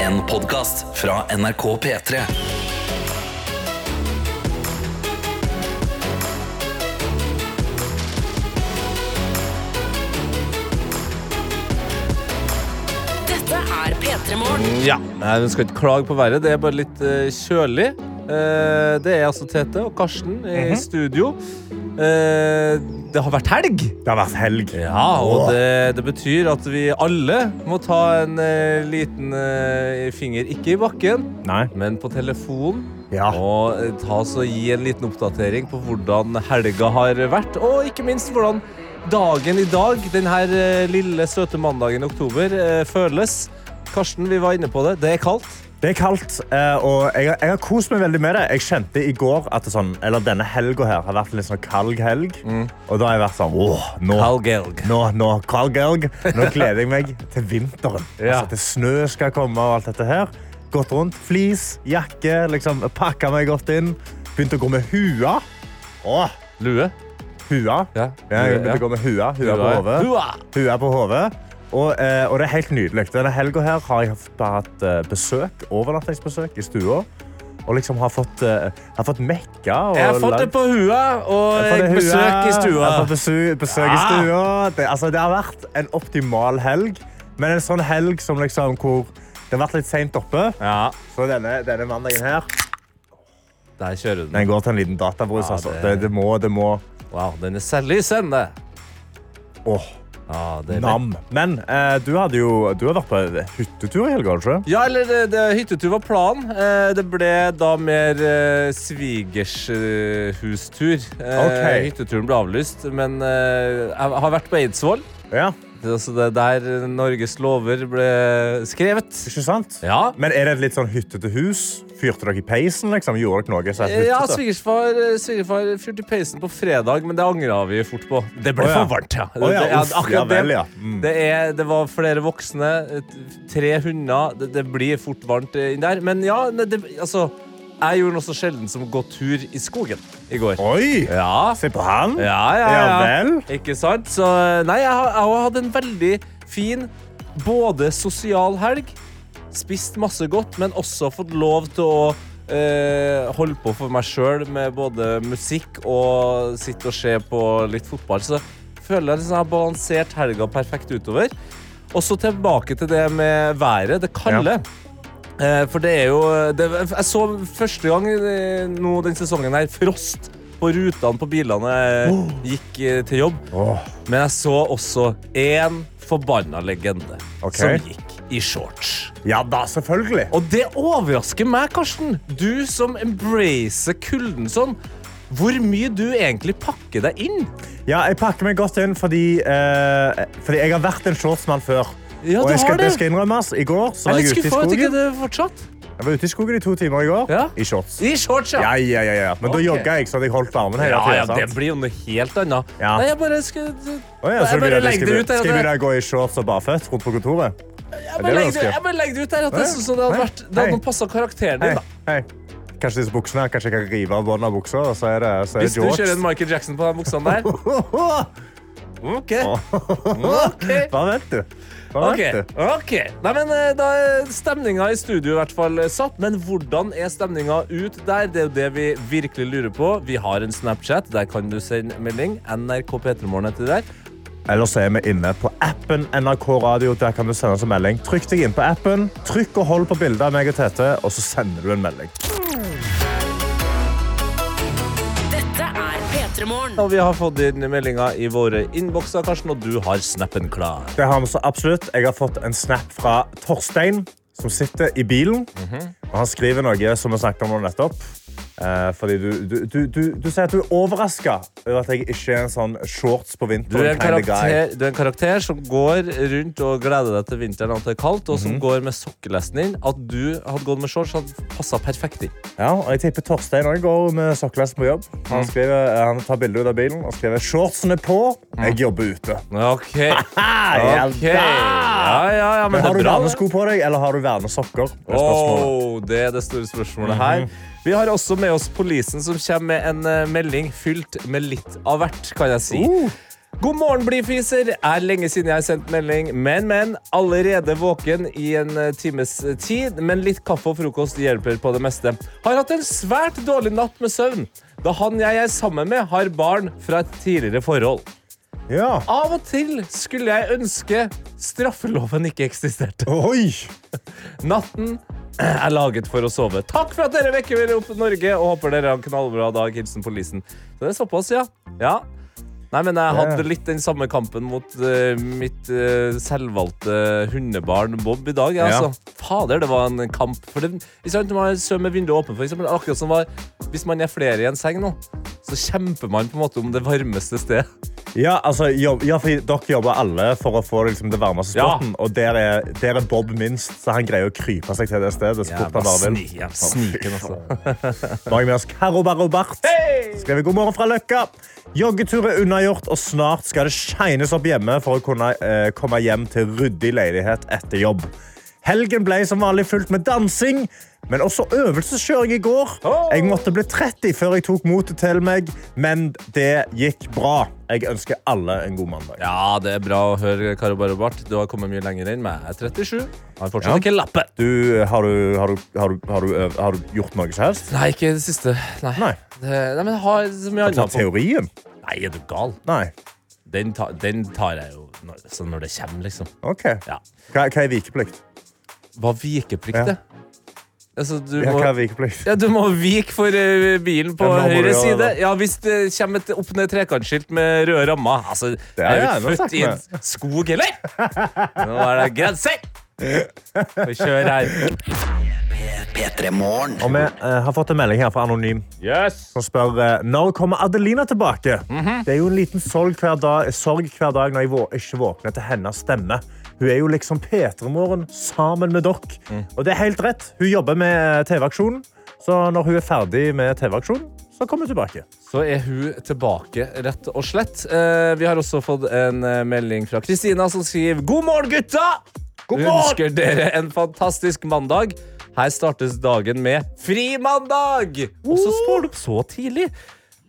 En podcast fra NRK P3 Dette er P3 Morgen. Ja, Nei, Hun skal ikke klage på været, det er bare litt eh, kjølig. Eh, det er altså Tete og Karsten i studio. Eh, det har vært helg. Det har vært helg. Ja, og det, det betyr at vi alle må ta en eh, liten eh, finger, ikke i bakken, Nei. men på telefonen. Ja. Og eh, ta oss og gi en liten oppdatering på hvordan helga har vært, og ikke minst hvordan dagen i dag, denne lille søte mandagen i oktober, eh, føles. Karsten, vi var inne på det. Det er kaldt. Det er kaldt, eh, og jeg, har- jeg har kost meg veldig med det. Jeg kjente i går at det sånn, eller denne helga her har vært en litt sånn kald helg. Mm. Og da har jeg vært sånn åh, nå, Halgelg. nå, nå, kald helg. Nå gleder jeg meg til vinteren. Ja. Altså, til snø skal komme og alt dette her. Gått rundt, flis, jakke, liksom pakka meg godt inn. Begynte å gå med hua. Åh, Lue. hua. Ja. Ja, jeg begynte å gå med hua. Hua på hodet. Hun er på hodet. Og, eh, og det er helt nydelig. Denne helga her har jeg hatt- bare hatt eh, besøk, overnattingsbesøk i stua. Og liksom har fått, eh, har fått mekka. Og Jeg har fått det på hua og Jeg har fått det hua, besøk i Jeg stua. har fått besu- besøk i Ja. stua. Det, altså, det har vært en optimal helg, men en sånn helg som liksom, hvor det har vært litt seint oppe. Ja, Så denne, denne mandagen her der kjører du den. den går til en liten databrus. Ja, altså. det- det, det må, det må. Wow, den er selvlysende. Åh, Ja, det er nam. Men eh, du, hadde jo, du har vært på hyttetur i helga, har du ikke? Ja, eller det, det, hyttetur var planen. Eh, det ble da mer eh, svigershustur. Eh, Ok. Hytteturen ble avlyst, men eh, jeg har vært på Eidsvoll. Ja. Det er altså det der Norges lover ble skrevet. Ikke sant? Ja. Men er det et litt sånn hyttete hus? Fyrte dere i peisen? liksom? Gjorde dere noe som er Ja, altså, hyttete? svigerfar, svigerfar fyrte i peisen på fredag, men det angra vi fort på. Det Å, ja. ja. Å, ja, Det- ja, uff, akkurat ja vel, det- ja. Mm. Det, er, det var flere voksne, et- tre hunder. Det, det blir fort varmt eh, inn der. Men ja, ne- det, altså Jeg gjorde noe så sjelden som å gå tur i skogen i går. Oi! Ja, Se på han! ja, ja. ja. Ja vel. Ikke sant? Så eh, nei, jeg har, jeg har hatt en veldig fin både sosial helg, spist masse godt, men også fått lov til å eh, holde på for meg sjøl med både musikk og sitte og se på litt fotball. Så føler jeg liksom jeg har balansert helga perfekt utover. Og så tilbake til det med været, det kalde. Eh, For det er jo det, Jeg så første gang eh, nå den sesongen her frost på rutene på bilene eh, gikk eh, til jobb. Åh, Men jeg så også én forbanna legende Ok. som gikk i shorts. ja da, selvfølgelig. Og det overrasker meg, Karsten. Du som embracer kulden sånn. Hvor mye du egentlig pakker deg inn. Ja, jeg pakker meg godt inn fordi, eh, fordi jeg har vært en shortsmann før. Ja, og du jeg skal, har det. det skal innrømmes. I går Jeg så var er litt jeg ute i skuffa over at ikke skogen. det fortsatt. Jeg var ute i skogen i to timer i går Ja. i shorts. I shorts, Ja, ja, ja, ja. Men da Ok. jogga jeg, så hadde jeg holdt armen hele Ja, tiden, ja, sant? det blir jo noe helt annet. Ja. Nei, jeg bare skal Å ja, Jeg så du vil bare at jeg legger det skal be- ut der, Skal jeg at begynne å gå i shorts og barføtt rundt på kontoret? Jeg det bare er legger det, vanskelig. jeg bare legger det ut der at jeg Nei. synes det hadde Nei. vært Det hadde Hei. passa karakteren Hei, din, da. hei. Kanskje disse buksene her, kanskje jeg kan rive av båndet av buksa, og så er det, så er det Hvis du George. kjører en Michael Jackson på den buksa der. OK. OK. Hva vet du? Hva Ok, vet du? ok. Nei, men eh, da er stemninga i studio i hvert fall eh, satt. Men hvordan er stemninga ut der? Det er jo det vi virkelig lurer på. Vi har en Snapchat. Der kan du sende melding. NRK P3morgen heter det der. Eller så er vi inne på appen NRK Radio. Der kan du sende oss en melding. Trykk deg inn på appen, trykk og hold på bildet av meg og Tete, og så sender du en melding. Dette er P3 Morgen. Og vi har fått inn meldinga i våre innbokser, Karsten, og du har snappen klar. Det har vi så absolutt. Jeg har fått en snap fra Torstein, som sitter i bilen. Mhm. Og han skriver noe som vi snakket om nå nettopp. Eh, fordi du, du, du, du, du sier at du er overraska over at jeg ikke er en sånn shorts på Du vinteren. er, en kind of guy. karakter, du er en karakter som går rundt og gleder deg til vinteren at det er kaldt, og som Mhm. går med sokkelesten inn. At du hadde gått med shorts, hadde passa perfekt inn. Ja, og jeg tipper Torstein også går med sokkelesten på jobb. Mm. Han, skriver, eh, han tar bilde ut av bilen og skriver shortsene på. Mm. Jeg jobber ute. OK. Ok. Ok. Ja, ja, ja, men det Har er du bra. det. vernesko på deg, eller har du vernesokker? Det er spørsmålet. Mhm. Åh, det er det store spørsmålet her. Vi har også med oss polisen, som kommer med en eh, melding fylt med litt av hvert, kan jeg si. Uh. God morgen, blidfiser! Er lenge siden jeg har sendt melding, men, men. Allerede våken i en eh, times tid, men litt kaffe og frokost hjelper på det meste. Har hatt en svært dårlig natt med søvn, da han jeg er sammen med, har barn fra et tidligere forhold. Ja. Av og til skulle jeg ønske straffeloven ikke eksisterte. Oi! Natten er laget for å sove. Takk for at dere vekker meg opp Norge, og håper dere har en knallbra dag. Hilsen polisen. Så det er såpass, ja. ja. Nei, men jeg hadde litt den samme kampen mot eh, mitt eh, selvvalgte hundebarn Bob i dag. jeg, Ja. Altså. Fader, det var en kamp. For det, ikke sant, man sover med vinduet åpent, for eksempel. Akkurat som var, hvis man er flere i en seng nå, så kjemper man på en måte om det varmeste stedet. Ja, altså, jobb, ja, fordi dere jobber alle for å få liksom, det varmeste Ja. spotten. Og der er, der er Bob minst, så han greier å krype seg til det stedet. Så fort han bare vil. Sni- jævla Sniken, altså. Nå har jeg med oss Karo Barro Bart. Skrev god morgen fra Løkka. Joggetur er unnagjort, og snart skal det shines opp hjemme for å kunne eh, komme hjem til ryddig leilighet etter jobb. Helgen ble som vanlig fullt med dansing, men også øvelseskjøring i går. Åh! Jeg måtte bli 30 før jeg tok motet til meg, men det gikk bra. Jeg ønsker alle en god mandag. Ja, det er bra å høre, Karo Barobart. Du har kommet mye lenger inn, men jeg er 37. Har fortsatt Ja. ikke lappet. Du, har, du, har, du, har, du, har, du, øv- har du gjort noe som helst? Nei, ikke det siste. Nei. Nei. Det, nei men jeg har så mye Ta annet på. teorien? Nei, er du gal? Nei. Den, ta, den tar jeg jo når, sånn når det kommer, liksom. OK. Ja. Hva, hva er vikeplikt? Hva vikeplikt Ja. er? Altså, du Ja, må hva er vikeplikt? ja, du må vike for eh, bilen på Ja, nå må du høyre gjøre side. det. Ja, Hvis det kommer et opp ned trekantskilt med røde rammer. Altså, er jeg er jeg jo gjerne ikke født i sagt en skog heller! Nå er det grenser! Vi kjører her. P3 Morgen. Og vi eh, har fått en melding her fra Anonym Yes! Mhm. som spør eh, når kommer Adelina tilbake. Det er jo en liten sorg hver dag, eh, sorg hver dag når jeg vå ikke våkner til hennes stemme. Hun er jo liksom P3-morgen sammen med dere. Mm. Og det er helt rett. Hun jobber med eh, TV-aksjonen. Så når hun er ferdig med TV-aksjonen, så kommer hun tilbake. så er hun tilbake, rett og slett. Eh, vi har også fått en eh, melding fra Kristina som skriver God morgen, gutta! God Ønsker dere en fantastisk mandag. Her startes dagen med frimandag! Og så står det opp så tidlig.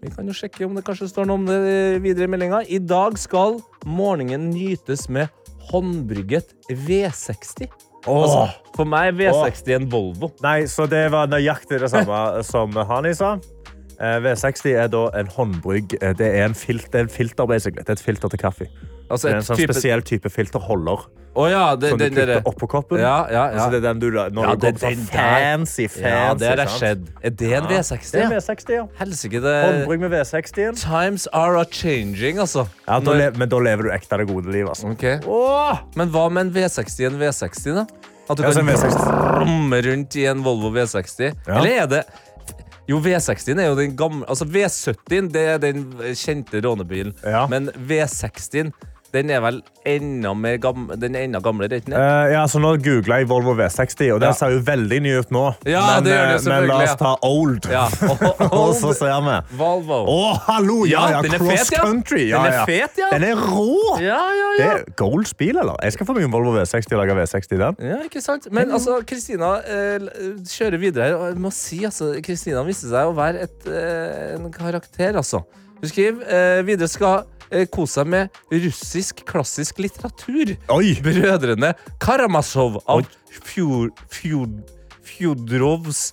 Vi kan jo sjekke om det kanskje står noe om det videre i meldinga. I dag skal morgenen nytes med håndbrygget V60. Altså, Åh. for meg er V60 en Volvo. Nei, så det var nøyaktig det samme som Hani sa. Eh, V60 er da en håndbrygg. Eh, Det er en filter, det er en filter basically. Det er et filter til kaffe. Altså Det er en et sånn type... spesiell type filterholder. Å ja, det, Som du den derre- putter oppå koppen. Ja, ja, ja. Sånn Altså, det er den du la- når Ja, du det går er på sånn den der. fancy, fancy. Ja, det har sant? skjedd. Er det en V60? Det er ja? V60, ja. Helsike, det Håndbrygg med V60-en. Times are a changing, altså. Ja, da Når- Mm. le- men da lever du ekte det gode livet. Altså. Ok. Åh! Men hva med en V60 i en V60, da? At du Ja, så kan en V60. ramme rundt i en Volvo V60? Ja. Eller er det Jo, V60-en er jo den gamle Altså, V70-en det er den kjente rånebilen. Ja. Men V60-en den er vel enda mer gamle, den er enda gamlere, er den ikke det? Eh, ja, så nå googlet jeg Volvo V60, og den Ja. ser jo veldig ny ut nå. Ja, men, det gjør eh, den jo men la selvfølgelig, oss ta old, Ja. og så ser vi. Volvo. Å, hallo! Ja, Ja, ja, den er cross fet, ja. country. Ja, Den er ja. fet, ja. Den er rå! Ja, ja, ja. Det er Golds bil, eller? Jeg skal få meg en Volvo V60 og lage V60 i den. Ja, ikke sant? Men altså, Kristina eh, l- kjører videre her, og jeg må si altså, Kristina viste seg å være et, eh, en karakter, altså. Hun skriver eh, videre skal eh, kose seg med russisk klassisk litteratur. Oi! Brødrene Karamazov av Oi. Fjor, Fjor, Fjodorovs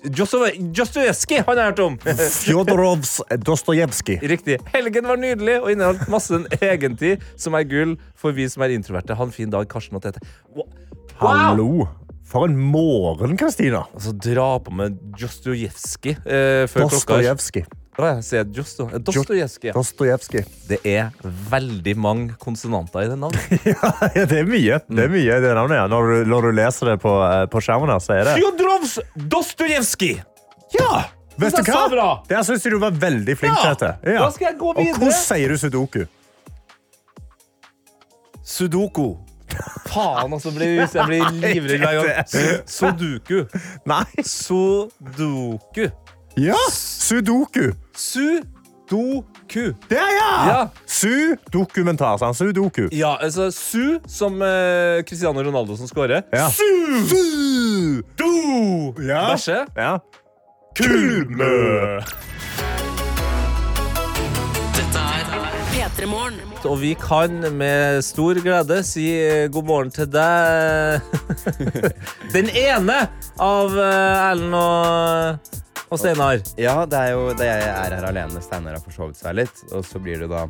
Dostojevskij har jeg hørt om! Fjodorovs Dostojevskij. Riktig. Helgen var nydelig og inneholdt masse en egentid som er gull for vi som er introverte. Ha en fin dag, Karsten og Tete. Wow. Hallo! For en morgen, Kristina. Altså, dra på med Dostojevskij eh, før klokka er- Dostojevskij. Å, jeg sier Dosto- eh, Dostojevskij. Ja. Dostojevskij. Det er veldig mange konsonanter i det navnet. Ja, det er mye. Det er mye i det navnet, ja. Når du, når du leser det på, eh, på skjermen her, så er det Fjodorovs Dostojevskij! Ja! Vet Det er du så hva? bra. Der syns jeg du var veldig flink Ja, til dette. da skal jeg gå videre. Og hvordan sier du sudoku? Sudoku. Faen, altså. Blir, jeg blir livredd hver gang. Su- Sudoku. Nei. Sudoku. Ja, sudoku. Sudoku. Det er ja! Ja. Su-dokumentar, sa han. Sudoku. Ja, altså Su, som eh, Cristiano Ronaldo som scorer. Ja. Su-do. Ja. Bæsje. Ja. Kumø. P3 P3morgen. Og vi kan med stor glede si eh, god morgen til deg. Den ene av eh, Erlend og, og Steinar. Ja, det er jo det jeg er her alene. Steinar har forsovet seg litt. Og så blir det da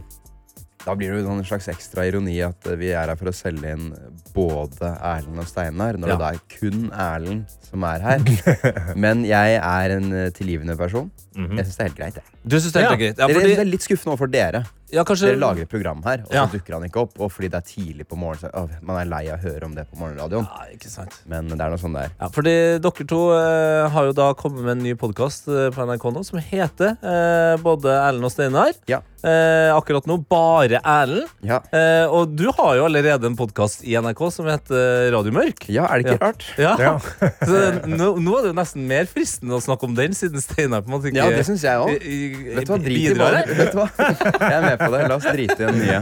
Da blir det jo en slags ekstra ironi at vi er her for å selge inn både Erlend og Steinar, Ja. når det da er kun Erlend som er her. Men jeg er en eh, tilgivende person. Jeg syns det er helt greit. Jeg. Du syns Mhm. det er Ja. helt greit? Ja, Dere- fordi, det er litt skuffende overfor dere. ja, kanskje, Dere lager et program her, og så Ja. dukker han ikke opp. Og fordi det er tidlig på morgenen, så åh, man er lei av å høre om det på morgenradioen. ja, ikke sant. Men det er noe sånn der. Ja, fordi dere to eh, har jo da kommet med en ny podkast på NRK nå som heter eh, både Erlend og Steinar. Ja. Eh, akkurat nå bare Erlend. Ja, Eh, og du har jo allerede en podkast i NRK som heter eh, Radio Mørk. ja er det ikke rart? Ja. Ja. Så nå, nå er det jo nesten mer fristende å snakke om den, siden Steinar på en måte ikke Ja, det syns jeg òg. i- i- Vet du hva, drit i bidrar hva- her. vet du hva? Jeg er med på det. La oss drite i den nye.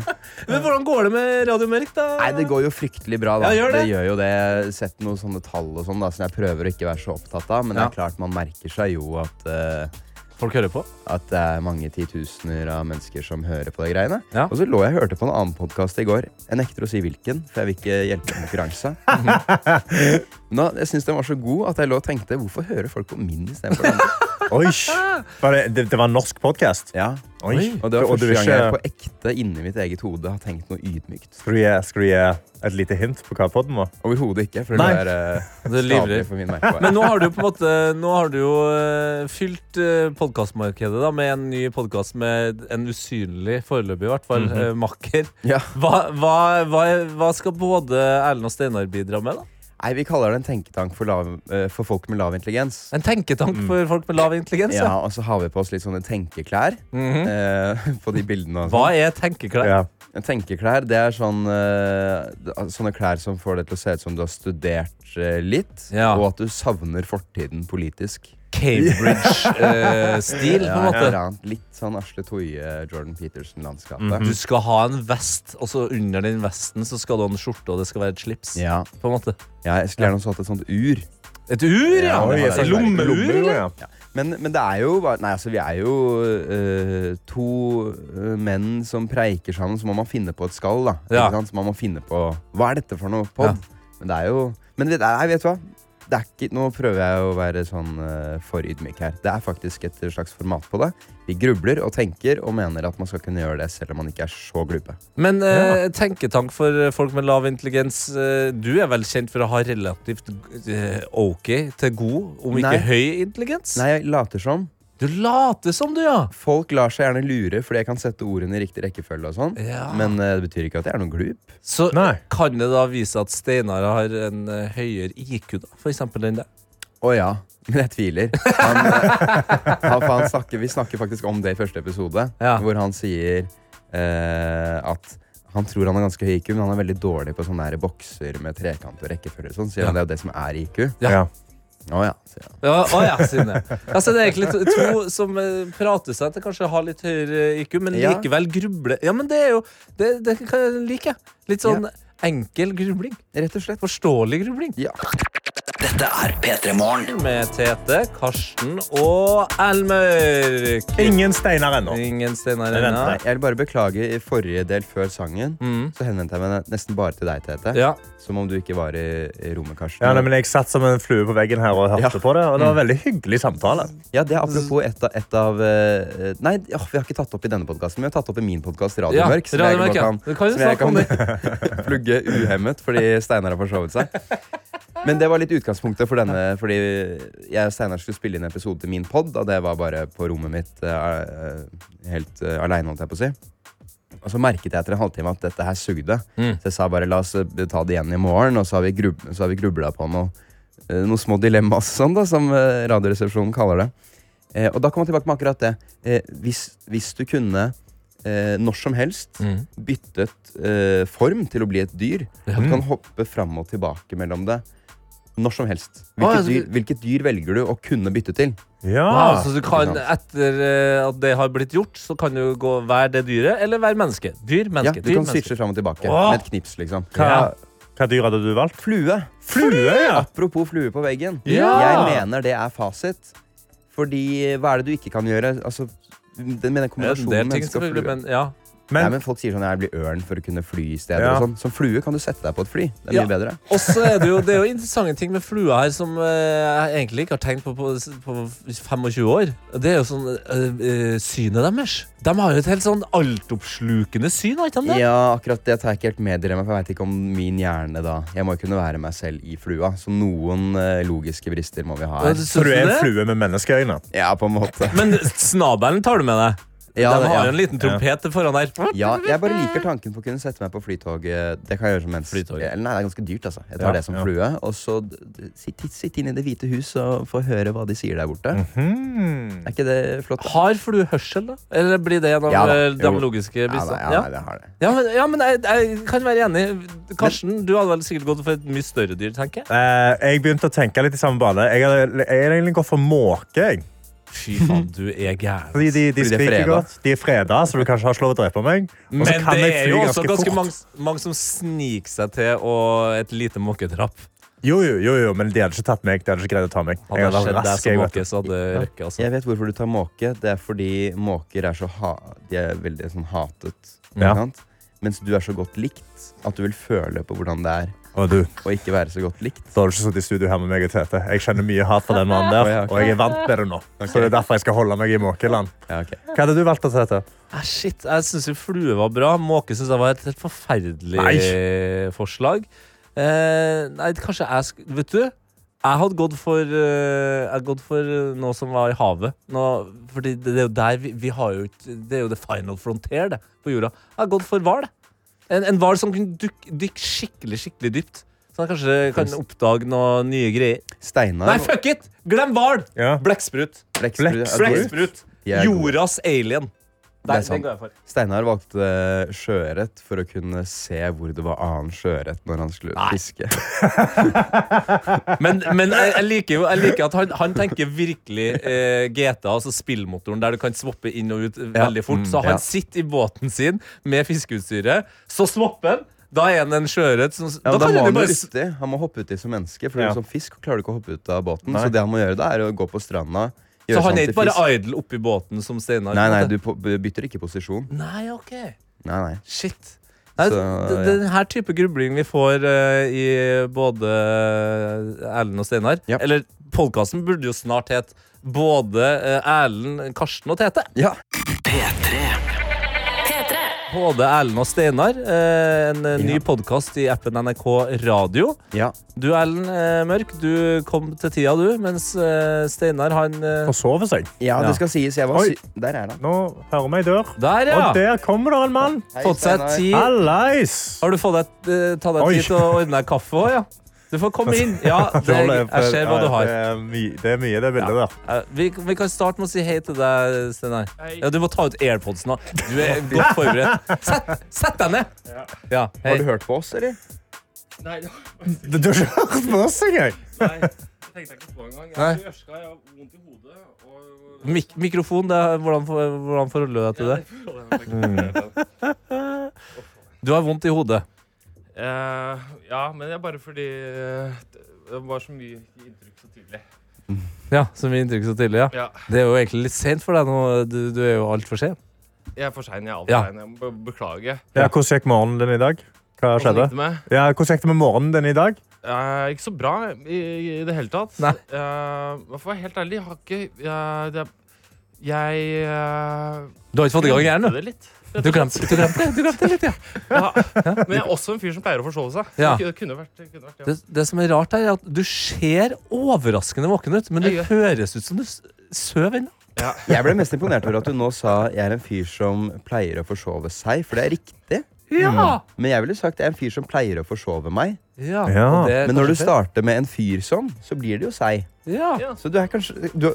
Men hvordan går det med Radio Mørk, da? Nei, det går jo fryktelig bra, da. Ja, gjør det. gjør jo det. Jeg har Sett noen sånne tall og sånn, da, som jeg prøver å ikke være så opptatt av. Men det Ja. er klart man merker seg jo at, eh, Folk hører på. at det er mange titusener av mennesker som hører på de greiene. Ja. Og så lå jeg og hørte på en annen podkast i går. Jeg nekter å si hvilken, for jeg vil ikke hjelpe konkurranse. Nå, jeg syns den var så god at jeg lå og tenkte hvorfor hører folk på min istedenfor den? Oi, var det, det, det var en norsk podkast? Ja. Oi. Og det var Og du første vil gang jeg på ikke, ekte inni mitt eget hode har tenkt noe ydmykt. skal, du gi, skal du gi et lite hint på hva podden var? Overhodet ikke, for det Nei. er eh, Det livrer. skadelig for min merkevare. Men nå har du på en måte Nå har du jo eh, fylt eh, podkastmarkedet da, med en ny podkast med en usynlig, foreløpig i hvert fall, Mhm. eh, makker. Ja. Hva, hva, hva, hva skal både Erlend og Steinar bidra med, da? Nei, vi kaller det en tenketank for, lav, eh, for folk med lav intelligens. En tenketank for folk med lav intelligens? Mm. Ja. Mhm. Ja, Og så har vi på oss litt sånne tenkeklær eh, på de bildene. og Hva sånn. er tenkeklær? Ja. Tenkeklær det er sånn, eh, det er sånne klær som får det til å se ut som du har studert eh, litt, Ja. og at du savner fortiden politisk. Cambridge-stil, på en Ja, et måte. eller annet litt sånn Asle Toje, Jordan Peterson-landskapet. Du skal ha en vest, og så under den vesten så skal du ha en skjorte, og det skal være et slips. Ja. På en måte. ja, jeg skulle gjerne også hatt et sånt ur. Et ur, ja! Ja, Oi, det var Et det. Lommeur, eller? ja. Men, men det er jo bare- Nei, altså, vi er jo eh, to eh, menn som preiker sammen, så må man finne på et skall, da. Ja. Ikke sant? Så man må finne på Hva er dette for noe pod? Ja. Men det er jo Men det, nei, vet du hva? Det er ikke, nå prøver jeg å være sånn eh, for ydmyk her. Det er faktisk et slags format på det. Vi grubler og tenker og mener at man skal kunne gjøre det selv om man ikke er så glupe. Men eh, tenketank for eh, folk med lav intelligens. eh, du er vel kjent for å ha relativt eh, ok til god, om ikke Nei. høy intelligens? Nei, jeg later som. Du later som du, ja! Folk lar seg gjerne lure fordi jeg kan sette ordene i riktig rekkefølge og sånn. Ja. Men eh, det betyr ikke at jeg er noen glup. Så Nei. kan det da vise at Steinar har en eh, høyere IQ, da, for eksempel, enn deg? Å ja, men jeg tviler. Han, eh, han, for han snakker, vi snakker faktisk om det i første episode, Ja. hvor han sier eh, at han tror han er ganske høy IQ, men han er veldig dårlig på sånne der bokser med trekant og rekkefølge. og Sånn, sier han det er jo det som er IQ. Ja. Ja. Å ja, sier han. Ja, å ja, Synne. Altså, det er egentlig to, to som eh, prater seg til kanskje å ha litt høyere IQ, men Ja. likevel gruble. Ja, men det er jo Det, det kan jeg like. Litt sånn enkel grubling. Rett og slett. Forståelig grubling. Ja. Dette er P3 Morgen. Med Tete, Karsten og Elmørk. Ingen steiner ennå. Ingen Steinar Jeg Enna. venter. Jeg vil bare beklage i forrige del før sangen. Så henvendte jeg meg nesten bare til deg, Tete. Mm. Ja. Som om du ikke var i, i rommet, Karsten. Ja, nei, men jeg satt som en flue på veggen her og hørte Ja. på det, og det var en veldig hyggelig samtale. Ja, det er apropos et av, et av eh, Nei, ja, vi har ikke tatt opp i denne podkasten, men vi har tatt opp i min podkast Radio Ja, Mørk. som jeg Radio Mørk, bare ja. Du kan jo som jeg snakke om kan plugge uhemmet fordi Steinar har forsovet seg. Men det var litt utgangspunktet for denne, fordi jeg og Steinar skulle spille inn en episode til min pod, og det var bare på rommet mitt eh, eh, helt uh, aleine, holdt jeg på å si. Og så merket jeg etter en halvtime at dette her sugde. Mm. Så jeg sa bare la oss eh, ta det igjen i morgen, og så har vi, grub så har vi grubla på noe, eh, noen små dilemmaer sånn, da, som eh, Radioresepsjonen kaller det. Eh, og da kom jeg tilbake med akkurat det. Eh, hvis, hvis du kunne eh, når som helst Mm. byttet eh, form til å bli et dyr, at du kan Mm. hoppe fram og tilbake mellom det når som helst. Å, Hvilket, altså, dyr, hvilket dyr velger du å kunne bytte til? Ja. Wow, Ah, så du kan, Ah, Ikke etter eh, at det har blitt gjort, så kan du gå være det dyret eller være menneske. Dyr, Ja, menneske. du dyr, kan menneske. switche fram og tilbake Åh! med et knips, liksom. Hva, hva dyr hadde du valgt? Flue. Flue, ja! Apropos flue på veggen. Ja! Jeg mener det er fasit. Fordi hva er det du ikke kan gjøre? Altså, den, med den Det er en kombinasjonen del ting, menneske og selvfølgelig, flue. men ja. Nei, Men, men Folk sier sånn jeg blir ørn for å kunne fly i stedet. Ja. og sånn. Som flue kan du sette deg på et fly. Det er mye bedre. Og så er det jo, det er jo interessante ting med flua her som eh, jeg egentlig ikke har tenkt på på, på 25 år. Det er jo sånn eh, eh, synet deres. De har jo et helt sånn altoppslukende syn, har ikke de det? Ja, akkurat det tar jeg ikke helt med dere, for jeg vet ikke om min hjerne da Jeg må jo kunne være meg selv i flua, så noen eh, logiske brister må vi ha Ja, her. det- så du er en det? flue med menneskeøyne? Ja, på en måte. Men snabelen tar du med deg. Ja, de det- har ja. jo en liten trompet foran der. Ja, jeg bare liker tanken på å kunne sette meg på flytoget. Det kan jeg gjøre som mens Flytoget. Eller nei, det er ganske dyrt, altså. Jeg tar Ja, det som ja. flue, og så d- d- sitt, sitt inn i Det hvite hus og få høre hva de sier der borte. Er ikke det flott? da? Har flue hørsel, da? Eller blir det en av Ja da, eh, de jo. logiske Ja, nei, bristene? ja, nei, det har det. Ja, men, ja, men jeg, jeg kan være enig. Karsten, du hadde vel sikkert gått for et mye større dyr, tenker jeg. Eh, jeg begynte å tenke litt i samme bane. Jeg hadde jeg hadde egentlig gått for måke. jeg. Fy faen, du er gæren. Fordi de, de Fordi det er skriker freda. godt. De er freda, så du kan ikke ha slå å drepe meg. Og så Men Altså, kan det jeg er fly jo også ganske ganske fort. mange, mange som sniker seg til og et lite måketrapp. Jo, jo, jo, jo, men de hadde ikke tatt meg. De hadde ikke greid å ta meg. Jeg Hadde det hadde vært skjedd deg rask, som jeg, vet måke, så hadde det røkket. Altså. Jeg vet hvorfor du tar måke. Det er fordi måker er så ha De er veldig sånn hatet. ikke Ja. sant? Mens du er så godt likt at du vil føle på hvordan det er du. Og du, å ikke være så godt likt. da har du ikke sittet i studio her med meg og Tete. Jeg kjenner mye hat for den mannen der, Å, ja, ok. og jeg er vant med det nå. Så det er derfor jeg skal holde meg i måkeland. Ja, ok. Hva hadde du valgt å Tete? Eh, shit, jeg syns jo flue var bra. Måke syns jeg var et helt forferdelig forslag. Eh, nei, kanskje jeg sk... Vet du? Jeg hadde gått for, eh, jeg hadde gått for eh, noe som var i havet. Noe, fordi det, det er jo der vi, vi har jo ikke Det er jo the final frontier det, på jorda. Jeg hadde gått for hval. jeg. En, en hval som kunne dykke dykke skikkelig skikkelig dypt. Så han kanskje kan oppdage noen nye greier. Steinar Nei, fuck it! Glem hval! Ja. Blekksprut. Blekksprut. Blekksprut. Ja, du- Blekksprut. de er gode. Jordas alien. Det Der, er den sant. går jeg for. Steinar valgte eh, sjøørret for å kunne se hvor det var annen sjøørret når han skulle fiske. Men, men jeg, jeg liker jo jeg liker at han, han tenker virkelig eh, GTA, altså spillmotoren, der du kan swappe inn og ut eh, veldig fort. Så han ja. sitter i båten sin med fiskeutstyret, så swapper han. Da er han en sjøørret som da, Ja, men da kan han må jo han, jo bare s- uti. han må hoppe uti som menneske, for Ja. som fisk klarer du ikke å hoppe ut av båten. Nei. Så det han må gjøre da, er å gå på stranda. Så gjøre han er seg om sånn til ikke bare fisk. idle oppi båten som Steinar? Nei, nei, du på- bytter ikke posisjon. nei, ok. Nei, nei. Shit. Nei, Så, d- ja. d- Den her type grubling vi får eh, i både eh, Erlend og Steinar Ja. Eller podkasten burde jo snart het både eh, Erlend, Karsten og Tete. Ja. P3. Både Erlend og Steinar. eh, En eh, ny Ja. podkast i appen NRK Radio. ja. Du, Erlend eh, Mørk, du kom til tida, du, mens eh, Steinar, han eh, Forsove seg. Ja, Ja. det skal sies. Jeg var Oi. sy Der er det. Nå hører vi ei dør. Der, ja! Og der kommer det en mann. Hei, Fått seg Steinar. tid. Hallais! Har du fått deg, eh, ta deg Oi. tid til å ordne deg kaffe òg, ja? Du får komme inn. Ja, det, jeg ser hva du har. Det er, mye, det er mye, det bildet der. Eh, Vi, vi kan starte med å si hei til deg, Steinar. Ja, du må ta ut airpodsen nå. Du er godt forberedt. Sett, sett deg ned! Ja, hei. Har du hørt på oss, eller? Nei, det Du du har ikke hørt på oss engang! nei, det tenkte jeg ikke på engang. Jeg Nei. er tørska, jeg har vondt i hodet. Og Mik mikrofon, det er, hvordan, for- hvordan forholder du deg til det? Mm. Du har vondt i hodet. Eh, ja, men det er bare fordi eh, det var så mye inntrykk så tidlig. Ja, som vi inntrykk så tidlig, ja. Ja, Det er jo egentlig litt sent for deg nå. Du, du er jo altfor sen. jeg er for sein. Jeg er Ja. altfor sein. Jeg må be- beklage. Ja, hvordan gikk morgenen din i dag? Hva Hvordan skjedde? gikk det med? Ja, hvordan gikk det med morgenen din i dag? Eh, ikke så bra i, i det hele tatt. Nei. Eh, for å være helt ærlig, jeg har ikke eh, det, Jeg eh, Du har ikke fått i gang glemte hjernen, du. det litt. rett Du og glemte, du glemte det. Du glemte det litt, ja. Ja, men jeg er også en fyr som pleier å forsove seg. Ja. Det kunne vært, det kunne vært ja. Det, det som er rart, er at du ser overraskende våken ut, men det Jeg høres ut som du s- sover ennå. Jeg ble mest imponert over at du nå sa jeg er en fyr som pleier å forsove seg, for det er riktig. Ja! Men jeg ville sagt jeg er en fyr som pleier å forsove meg. Mm. ja. Ja. og det er Men når du Eh, kanskje starter med en fyr som, så blir det jo seg. feil. ja. Ja. Så du er kanskje Du,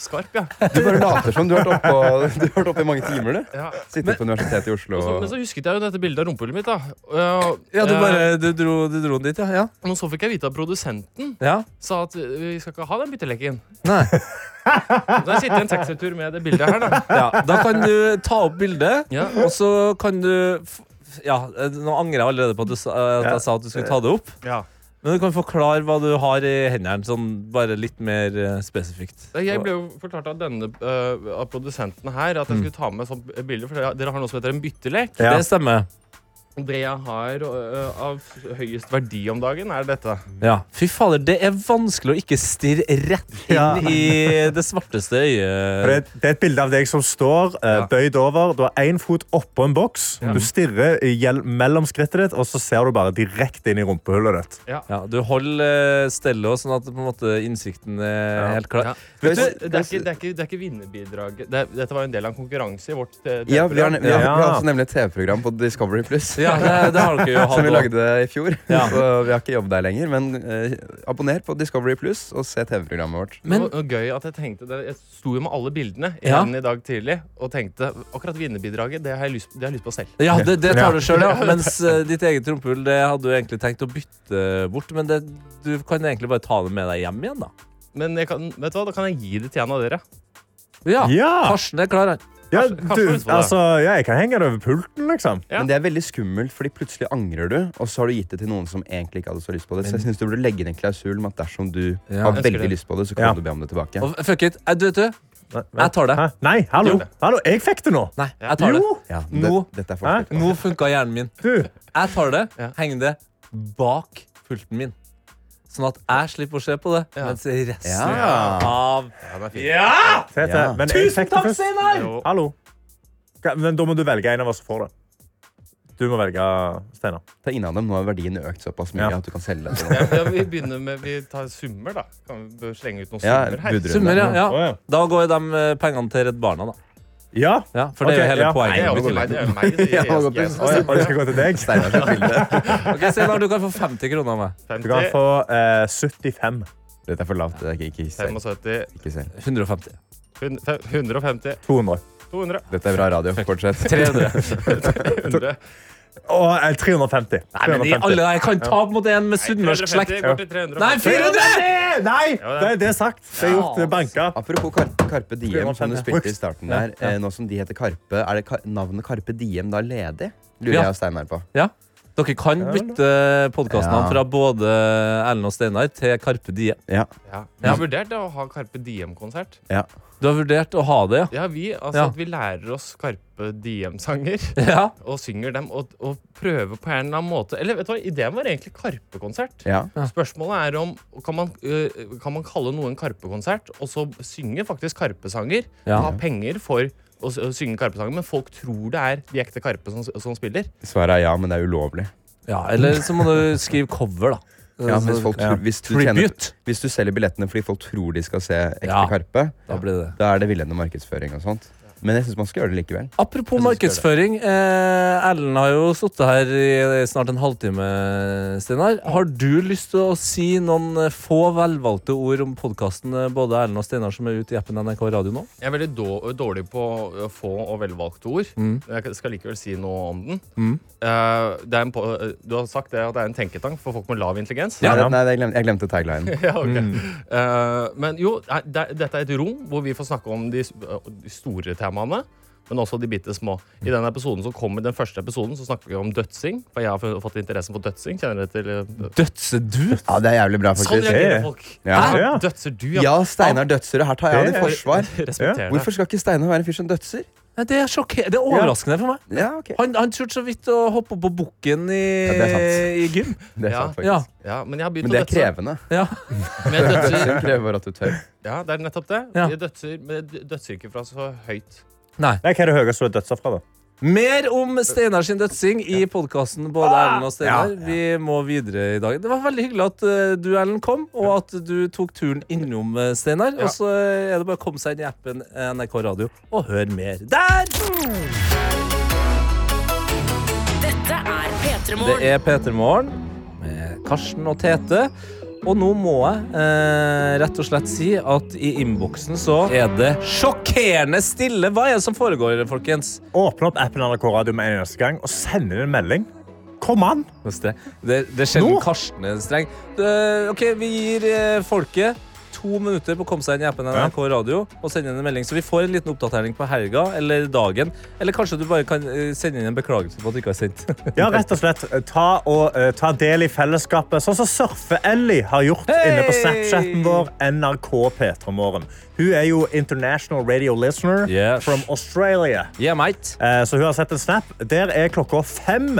Skarp, ja. du bare later som du har vært oppe, du har vært oppe i mange timer, du. ja. Sitter på Universitetet i Oslo Og så, og men så husket jeg jo dette bildet av rumpehullet mitt. da Og, ja, du eh, bare du dro, du dro den dit, ja. ja. Men så fikk jeg vite at produsenten ja. sa at vi skal ikke ha den bytteleken. Nei. Så jeg sitter i en taxitur med det bildet her. da Ja, da kan du ta opp bildet, Ja. og så kan du f- ja, eh, Nå angrer jeg allerede på at, du sa, at jeg sa at du skulle ta det opp. Ja. Men du kan forklare hva du har i hendene, sånn bare litt mer eh, spesifikt. Nei, Jeg ble jo fortalt av denne eh, av produsenten her at jeg skulle ta med sånt bilde. For dere- dere har noe som heter en byttelek. Ja. Det stemmer. Det jeg har eh, av høyest verdi om dagen, er dette. Ja. Fy fader, det er vanskelig å ikke stirre rett inn Ja. i det svarteste For øyet. Det, det er et bilde av deg som står eh, bøyd over. Du har én fot oppå en boks. Du stirrer i gjel- mellom skrittet ditt, og så ser du bare direkte inn i rumpehullet ditt. Ja, du holder eh, stellet også, sånn at på en måte innsikten er helt klar. Ja. Vet Og du, det, er ikke, det, er ikke, det er ikke vinnerbidraget. Det, er- dette var jo en del av en konkurranse i vårt eh, Ja, vi har, TV-program. vi har, vi har Ja. også nemlig et TV-program på Discovery Pluss. ja, det, det har dere jo Som vi hatt. også. lagde i fjor. Ja. Så vi har ikke jobb der lenger. Men eh, abonner på Discovery Pluss og se TV-programmet vårt. Men det var gøy at jeg tenkte det. Jeg sto jo med alle bildene i Ja. hendene i dag tidlig og tenkte akkurat vinnerbidraget, det har jeg lyst, det har jeg lyst på selv. Ja, det, det tar Ja. du sjøl, ja. Mens eh, ditt eget rumpehull det hadde du egentlig tenkt å bytte bort. Men det, du kan egentlig bare ta det med deg hjem igjen, da. Men jeg kan, vet du hva, da kan jeg gi det til en av dere. Ja, Ja! Karsten er klar, han. ja, Karsten- Karsten du, er ute på det. altså, ja jeg kan henge det over pulten, liksom. Ja. Men det er veldig skummelt, fordi plutselig angrer du, og så har du gitt det til noen som egentlig ikke hadde så lyst på det. Så jeg synes du burde legge inn en klausul om at dersom du Ja. har Jeg ønsker veldig det. lyst på det, så kan Ja. du be om det tilbake. Og fuck it. eh, Du vet du, jeg tar det. Hæ? Nei, hallo. Gjør det. hallo. Jeg fikk det nå. Nei, jeg tar det. Jo. Ja, det, Nå- dette er Hæ? forskjell. Nå funka hjernen min. Du. Jeg tar det, Ja. henger det bak pulten min. Sånn at jeg slipper å se på det, Ja. mens resten Ja. av Tete, Ja. men jeg fikk det først. Steinar! Jo. Hallo. Ka- Men da må du velge en av oss som får det. Du må velge Steinar. Ta inn av dem, Nå har verdien økt såpass mye Ja. at du kan selge det. Ja, ja, vi begynner med Vi tar summer, da. Kan vi bør slenge ut noen Ja, summer her? budrunde. Summer, ja, ja. Å, Da går de eh, pengene til Redd Barna, da. Ja. Ja, for det er Ok, jo hele ja. Nei, det er jo poenget. ikke meg, det er jo meg. Ja, Det er jeg, det jeg, går jeg, Å, ja. Og det skal gå til deg. Steinar sitt bilde. Ok, Steinar, du kan få 50 kroner av meg. Du kan 50, få eh, 75. Dette er for lavt. Det er ikke, ikke, selg. 75, ikke selg. 150. 150, 200. 200, Dette er bra radio. Fortsett. 300. 100 Og eh, 350. Nei, men i 350. alle, jeg kan ta mot en med sunnmørsk slekt. 350 går til 350. Nei, 400! Nei! Det, det er sagt. Det er gjort. Det er banka. Apropos Kar Karpe Diem, som du 350. spilte i starten der. eh, Nå som de heter Karpe, er det ka navnet Karpe Diem da ledig? Lurer Ja. jeg og Steinar på. Ja. Dere kan bytte podkastnavn Ja. fra både Erlend og Steinar til Karpe Die. Ja. Ja. Jeg har vurdert å ha Carpe Diem-konsert. ja. Du har vurdert å ha det, ja? Ja, vi, altså Ja. at vi lærer oss Carpe Diem-sanger Ja, og synger dem og, og prøver på en eller annen måte Eller vet du hva, ideen var egentlig Karpe-konsert. ja. Spørsmålet er om kan man, øh, kan man kalle noe en Karpe-konsert, og så synge faktisk Karpe-sanger? Ja. Ha penger for å s- å synge Karpe-sanger, men folk tror det er de ekte Karpe som, som spiller. Svaret er ja, men det er ulovlig. ja. Eller så må du skrive cover, da. Ja, hvis, folk, tror- hvis, du tjener, Tribute. hvis du selger billettene fordi folk tror de skal se ekte Ja. Karpe, Da blir det da er det villedende markedsføring og sånt. Men jeg syns man skal gjøre det likevel. Apropos markedsføring. eh, Erlend har jo sittet her i snart en halvtime, Steinar. Har du lyst til å si noen eh, få velvalgte ord om podkasten både Erlend og Steinar som er ute i appen NRK Radio nå? Jeg er veldig då- dårlig på å få og velvalgte ord. Jeg skal likevel si noe om den. Eh, det er en, po- eh, du har sagt det at det er en tenketank for folk med lav intelligens. Nei, ja. det- Nei, jeg glemte, jeg glemte taglinen. Ja, ok. Mm. Eh, men jo, nei, det, dette er et rom hvor vi får snakke om de, s- de store temaene. Men også de bitte små. I denne episoden som kommer, den første episoden så snakker vi om dødsing. For jeg har f- fått interessen for dødsing. Kjenner dere til eh, Dødse du? Ja, Mm. det er jævlig bra, Sånn faktisk. reagerer folk. Ja. Ja. Dødser du, Ja, Steinar Dødsrud. Her tar jeg han i forsvar. Respekterer det. Hvorfor skal ikke Steinar være en fyr som dødser? Nei, Det er sjokkerende. Det er overraskende for meg. Ja, ok. Han, han turte så vidt å hoppe opp på bukken i, Ja, det er i gym. Det er Ja. sant, faktisk. Ja, Ja, men jeg har begynt Men det er å dødse. krevende. ja. Men jeg dødser, Dødsing krever bare at du tør. ja, det er nettopp det. Ja. Jeg dødser, men jeg dødser ikke fra så høyt. Nei, Hva er det høyeste du er dødsoffer for? da? Mer om Steinar sin dødsing i podkasten både Erlend og Steinar. Vi må videre i dag. Det var veldig hyggelig at eh, du, Erlend, kom, og at du tok turen innom eh, Steinar. Og så er det bare å komme seg inn i appen NRK Radio og høre mer der! Dette er P3 Det Morgen. er P3 Morgen med Karsten og Tete. Og nå må jeg eh, rett og slett si at i innboksen så er det sjokkerende stille. Hva er det som foregår, folkens? Åpne opp appen NRK Radio med en eneste gang og sende inn en melding. Kom an! Hos Det, det, det er sjelden Nå? Karsten er streng. Det, ok, Vi gir eh, folket to minutter på å komme seg inn i appen NRK Radio og sende inn en melding. Så vi får en liten oppdatering på helga eller dagen. Eller kanskje du bare kan eh, sende inn en beklagelse på at du ikke har sendt. Ja, rett og slett. Ta, og, eh, ta del i fellesskapet, sånn som Surfe-Ellie har gjort inne på Snapchatten vår, NRK P3morgen. Hun er jo international radio listener Yes. from Australia. Yeah, mate. Eh, Så hun har sett en snap. Der er klokka fem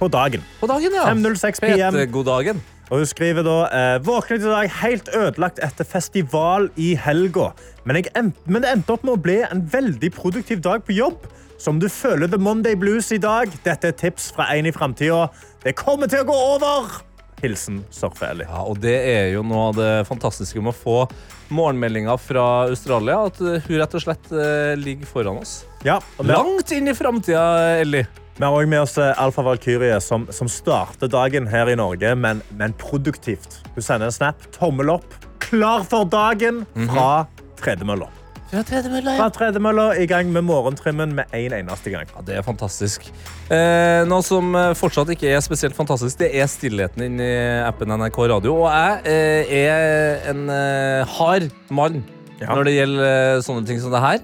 på dagen. På dagen, ja. 5.06 PM. Pete, God dagen. Og hun skriver da eh, Våknet i dag helt ødelagt etter festival i helga. Men, jeg em- men det endte opp med å bli en veldig produktiv dag på jobb. Så om du føler The Monday Blues i dag, dette er tips fra en i framtida. Det kommer til å gå over! Hilsen Surfe-Ellie. Ja, og det er jo noe av det fantastiske med å få morgenmeldinger fra Australia. At eh, hun rett og slett eh, ligger foran oss. Ja, og vi har- Langt inn i framtida, Ellie. vi har også med oss eh, Alfa Valkyrie, som, som starter dagen her i Norge, men, men produktivt. Hun sender en snap. Tommel opp. Klar for dagen fra tredemølla. Fra tredemølla, Mhm. Fra tredemølla i gang med morgentrimmen med en eneste gang. Ja, det er fantastisk. Eh, noe som eh, fortsatt ikke er spesielt fantastisk, det er stillheten inni appen NRK Radio. Og jeg eh, er en eh, hard mann Ja. når det gjelder eh, sånne ting som det her.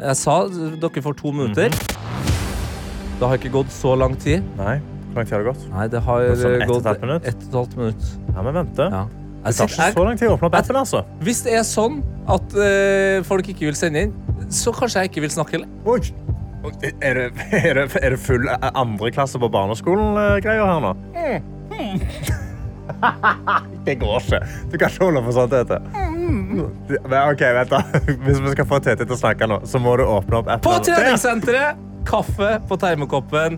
Jeg sa dere får to minutter. Mhm. Det har ikke gått så lang tid. Nei, hvor lang tid har det gått? Nei, det har er sånn eh, ett og gått et halvt minutt. ett og et halvt minutt. Ja, men vente. Ja. Det tar ikke så lang tid å åpne opp appen, altså. Hvis det er sånn at eh, folk ikke vil sende inn, så kanskje jeg ikke vil snakke heller. Oi. Er det, er det, er det full andre klasse på barneskolen-greier her nå? det går ikke. Du kan ikke holde på sånn, Tete. Men, ok, vent da. Hvis vi skal få Tete til å snakke nå, så må du åpne opp appen. På Der! treningssenteret! Kaffe på termokoppen.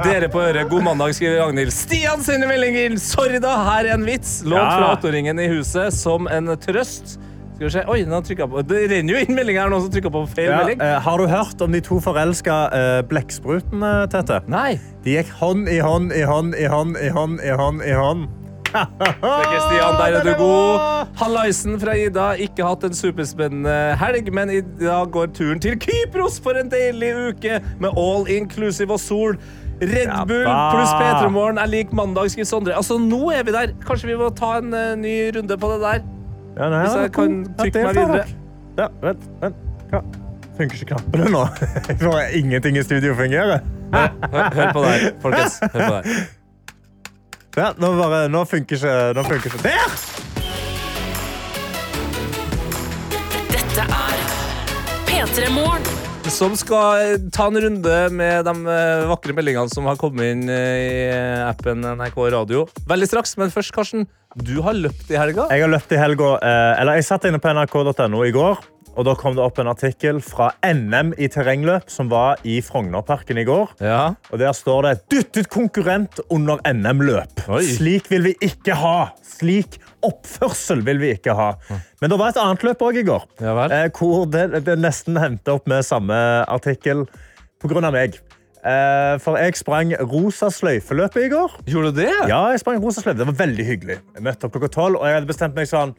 Dere på øret, god mandag, skriver Ragnhild. Stian sender melding inn! Sorry, da, her er en vits. Lånt Ja. fra åtteåringen i huset som en trøst. Skal vi se. Oi, den har trykket på. Det renner jo inn meldinger her, noen som trykker på feil Ja, melding. eh, har du hørt om de to forelska eh, blekksprutene, Tete? Nei. De gikk hånd i hånd i hånd i hånd i hånd i hånd. i hånd. Ikke Stian, der er den du er bra! god. Hallaisen fra Ida. Ikke hatt en superspennende helg, men i dag går turen til Kypros for en deilig uke med all inclusive og sol. Red Ja, Bull da. pluss P3 Morgen er lik mandag, skriver Sondre. Altså, nå er vi der. Kanskje vi må ta en eh, ny runde på det der? Ja, nei, Hvis ja, jeg kan ja, trykke det meg får videre. dere. Ja, vent, vent. Ja. Funker ikke knappene nå? Nå er ingenting i studio fungerer. Hør, hør på det her, folkens. Hør på det her. Ja, nå, bare, nå funker ikke, nå funker ikke. Der! Dette er P3 Morgen. Som skal eh, ta en runde med de eh, vakre meldingene som har kommet inn eh, i appen NRK Radio. Veldig straks, men først, Karsten. Du har løpt i helga. Jeg har løpt i helga, eh, eller jeg satt inne på nrk.no i går, og da kom det opp en artikkel fra NM i terrengløp som var i Frognerparken i går. Ja. Og der står det 'dyttet konkurrent under NM-løp'. Oi. Slik vil vi ikke ha! Slik oppførsel vil vi ikke ha. Men det var et annet løp òg i går, Ja vel. eh, hvor det, det nesten endte opp med samme artikkel pga. meg. Eh, for jeg sprang rosa sløyfeløpet i går. Gjorde du det? Ja, jeg sprang rosa sløyfe. Det var veldig hyggelig. Jeg møtte opp klokka tolv, og jeg hadde bestemt meg sånn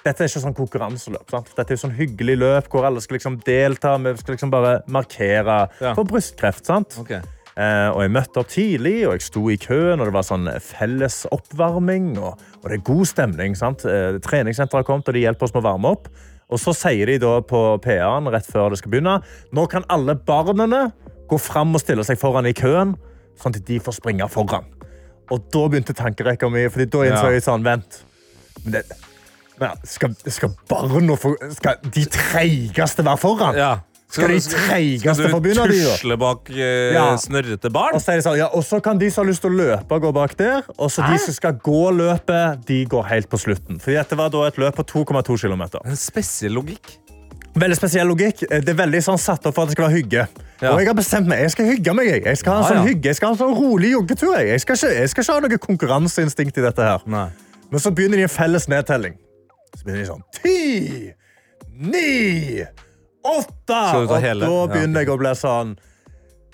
dette er ikke sånn konkurranseløp. Sant? Dette er sånn hyggelig løp hvor alle skal liksom delta. Vi skal liksom bare markere Ja. for brystkreft. sant? Ok. Eh, og jeg møtte opp tidlig, og jeg sto i køen, og det var sånn felles oppvarming. Og, og det er god stemning. sant? Eh, treningssenteret har kommet, og de hjelper oss med å varme opp. Og så sier de da på PA-en rett før det skal begynne, nå kan alle barnene gå fram og stille seg foran i køen, sånn at de får springe foran. Og da begynte tankerekka mi, fordi da innså Ja. jeg sånn, vent. Men det, men skal, skal barna få Skal de treigeste være foran? Skal de treigeste få begynne, de, da? tusle bak eh, Ja. snørrete barn? Og så er det sånn, ja, og så kan de som har lyst til å løpe, gå bak der. Og så de som skal gå løpet, de går helt på slutten. Fordi dette var da et løp på 2,2 km. En spesiell logikk. Veldig spesiell logikk. Eh, Det er veldig sånn satt opp for at det skal være hygge. Ja. Og jeg har bestemt meg. Jeg skal hygge meg. jeg. Jeg skal ha en Ja, sånn ja. hygge. Jeg skal ha en sånn rolig joggetur. Jeg. Jeg, skal ikke, jeg skal ikke ha noe konkurranseinstinkt i dette her. Men så begynner de en felles nedtelling. Så begynner de sånn ti, ni, åtte. Skal du ta hele? Og Ja. da begynner jeg å bli sånn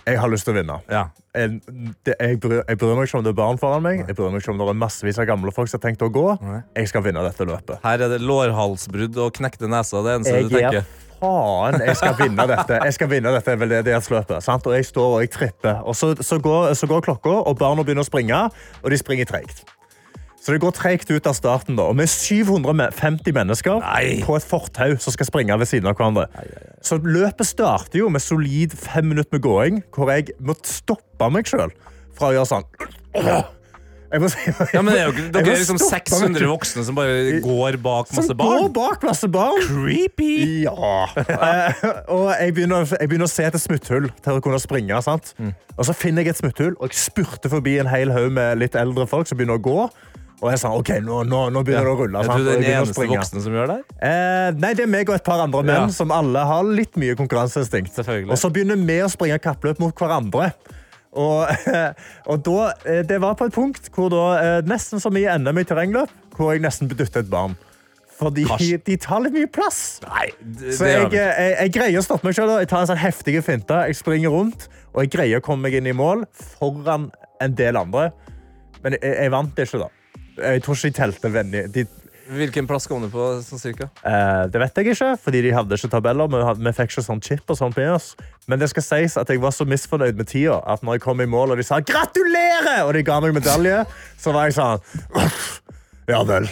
Jeg har lyst til å vinne. Ja. En- det, jeg, bryr, jeg bryr meg ikke om det er barn foran meg. Jeg bryr meg ikke om det er massevis av gamle folk som har tenkt å gå. Nei. Jeg skal vinne dette løpet. Her er det lårhalsbrudd og knekte nesa. Det eneste du Jeg gir tenker. faen. Jeg skal vinne dette. Jeg skal vinne dette veldedighetsløpet. Sant? Og jeg står og jeg tripper. Og så, så, går, så går klokka, og barna begynner å springe, og de springer treigt. Så det går tregt ut av starten. da. Og vi er 750 mennesker på et fortau som skal springe ved siden av hverandre. Så løpet starter jo med solid fem minutter med gåing, hvor jeg må stoppe meg sjøl fra å gjøre sånn. Jeg må, si- Ja, men det er jo, ikke- Jeg dere må er liksom stoppe meg 600 selv. voksne som bare går bak masse Som går barn. bak masse barn. Creepy. Ja. Eh, og jeg begynner, jeg begynner å se etter smutthull til å kunne springe. sant? Mm. Og så finner jeg et smutthull, og jeg spurter forbi en hel haug med litt eldre folk som begynner å gå. Og jeg sa OK, nå, nå, nå begynner det å rulle. Er du sant? Og jeg den begynner å eneste springe. voksne som gjør det? her? Eh, nei, det er meg og et par andre menn Ja. som alle har litt mye konkurranseinstinkt. Selvfølgelig. Og så begynner vi å springe kappløp mot hverandre. Og, og da, eh, det var på et punkt hvor da, eh, nesten som i NM i terrengløp, hvor jeg nesten bedyttet et barn. Fordi Hasj. de tar litt mye plass. Det- Så det jeg, gjør vi. eh, jeg, jeg greier å stoppe meg selv. da. Jeg tar en sånn heftige finte, jeg springer rundt, og jeg greier å komme meg inn i mål foran en del andre. Men jeg, jeg vant ikke, da. Jeg tror ikke de telte venner. De, Hvilken plass kom du på, sånn cirka? Eh, det vet jeg ikke, fordi de hadde ikke tabeller. Men vi had- vi fikk ikke sånn chip og sånt med oss. Men det skal sies at jeg var så misfornøyd med tida at når jeg kom i mål og de sa 'gratulerer', og de ga meg medalje, så var jeg sånn «Uff, Ja vel.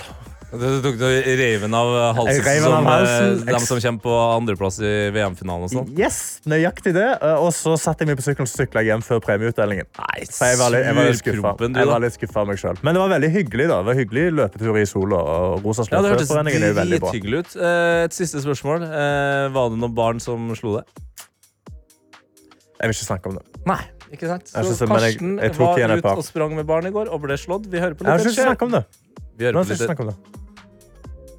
Du tok du reiven av halsen, Jeg reiv den av som, halsen. eh, dem som kommer på andreplass i VM-finalen og sånn? Yes, nøyaktig det. Eh, Og så satte jeg meg på sykkelen og sykla hjem før premieutdelingen. Nei, Så jeg var litt, jeg var litt skuffa. surprobben, du, Jeg da. var litt skuffa av meg selv. Men det var veldig hyggelig da. Det var hyggelig løpetur i sola. Og Rosa Ja, det Sløyfe hørtes Foreningen er jo veldig bra. drithyggelig ut. Eh, Et siste spørsmål. Eh, Var det noen barn som slo deg? Jeg vil ikke snakke om det. Nei. Ikke sant? Jeg Så synes det, men jeg- Karsten jeg tok igjen var et ute par. og sprang med barn i går og ble slått. Vi hører på Jeg har litt Ed ikke lyst til å Sheeran. snakke om det. Vi hører Nå på har jeg ikke lyst til å litt- snakke om det.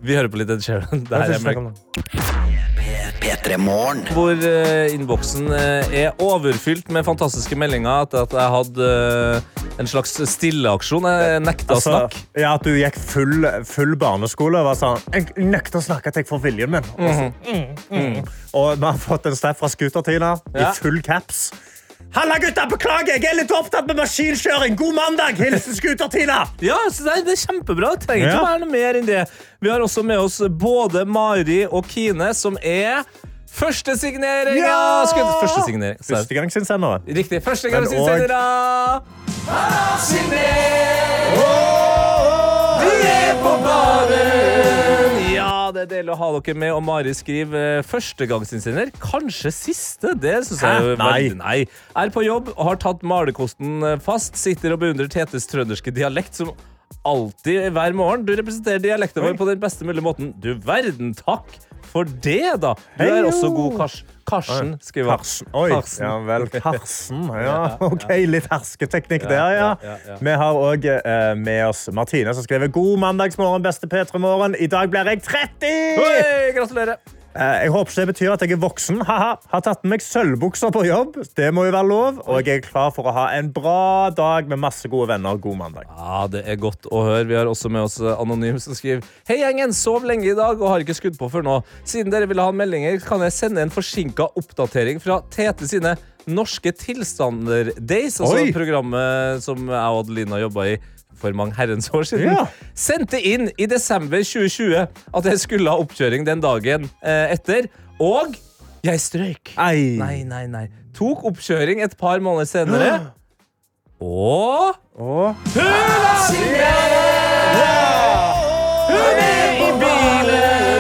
Vi hører på litt Ed Sheeran. Det Nå har her jeg er ikke lyst til å snakke om melk. det. P3 Morgen. Hvor eh, innboksen eh, er overfylt med fantastiske meldinger etter at jeg hadde eh, en slags stilleaksjon. Jeg nekta å snakke. Altså, ja, at du gikk full, full barneskole og var sånn Jeg nekter å snakke til jeg får viljen min. Og Mhm. så- mm, Og vi har fått en snap fra Scooter-Tina Mm. Ja. i full caps. Halla, gutta! Beklager, jeg er litt opptatt med maskinkjøring. God mandag! Hilsen Scooter-Tina! Ja, så det, er, det er kjempebra. Det trenger ikke Ja. å være noe mer enn det. Vi har også med oss både Mari og Kine, som er førstesignering! Ja! av skudd- Førstesignering. sa jeg. Førstegangsinnsendere. Riktig. Men Førstegangsinnsendere! Vi er på baren! Ja, det er deilig å ha dere med. Og Mari skriver eh, førstegangsinnsender. Kanskje siste? Det synes jeg Hæ? jo er veldig Nei. Nei. Er på jobb, har tatt malerkosten eh, fast, sitter og beundrer Tetes trønderske dialekt som alltid hver morgen. Du representerer dialekten vår på den beste mulige måten. Du verden, takk for det, da. Du er Heio! også god, Kars Karsten, skriver han. Karsen. Oi, Karsten. ja vel. Karsen. Ja, OK, litt hersketeknikk der, ja. ja, ja. Vi har òg eh, med oss Martine, som skriver God mandagsmorgen, beste P3-morgen. I dag blir jeg 30! Hei, gratulerer. Eh, Jeg håper ikke det betyr at jeg er voksen. Haha, har tatt med meg sølvbukser på jobb. Det må jo være lov. Og jeg er klar for å ha en bra dag med masse gode venner. God mandag. Ja, Det er godt å høre. Vi har også med oss eh, Anonym, som skriver Hei, gjengen. Sov lenge i dag og har ikke skudd på før nå. Siden dere ville ha meldinger, kan jeg sende en forsinka oppdatering fra Tete sine Norske tilstander Days, altså Oi! programmet som jeg og Adelina jobba i for mange herrens år siden. Ja. Sendte inn i desember 2020 at jeg skulle ha oppkjøring den dagen eh, etter, og jeg strøyk. Ei. Nei, nei, nei. Tok oppkjøring et par måneder senere. Og Og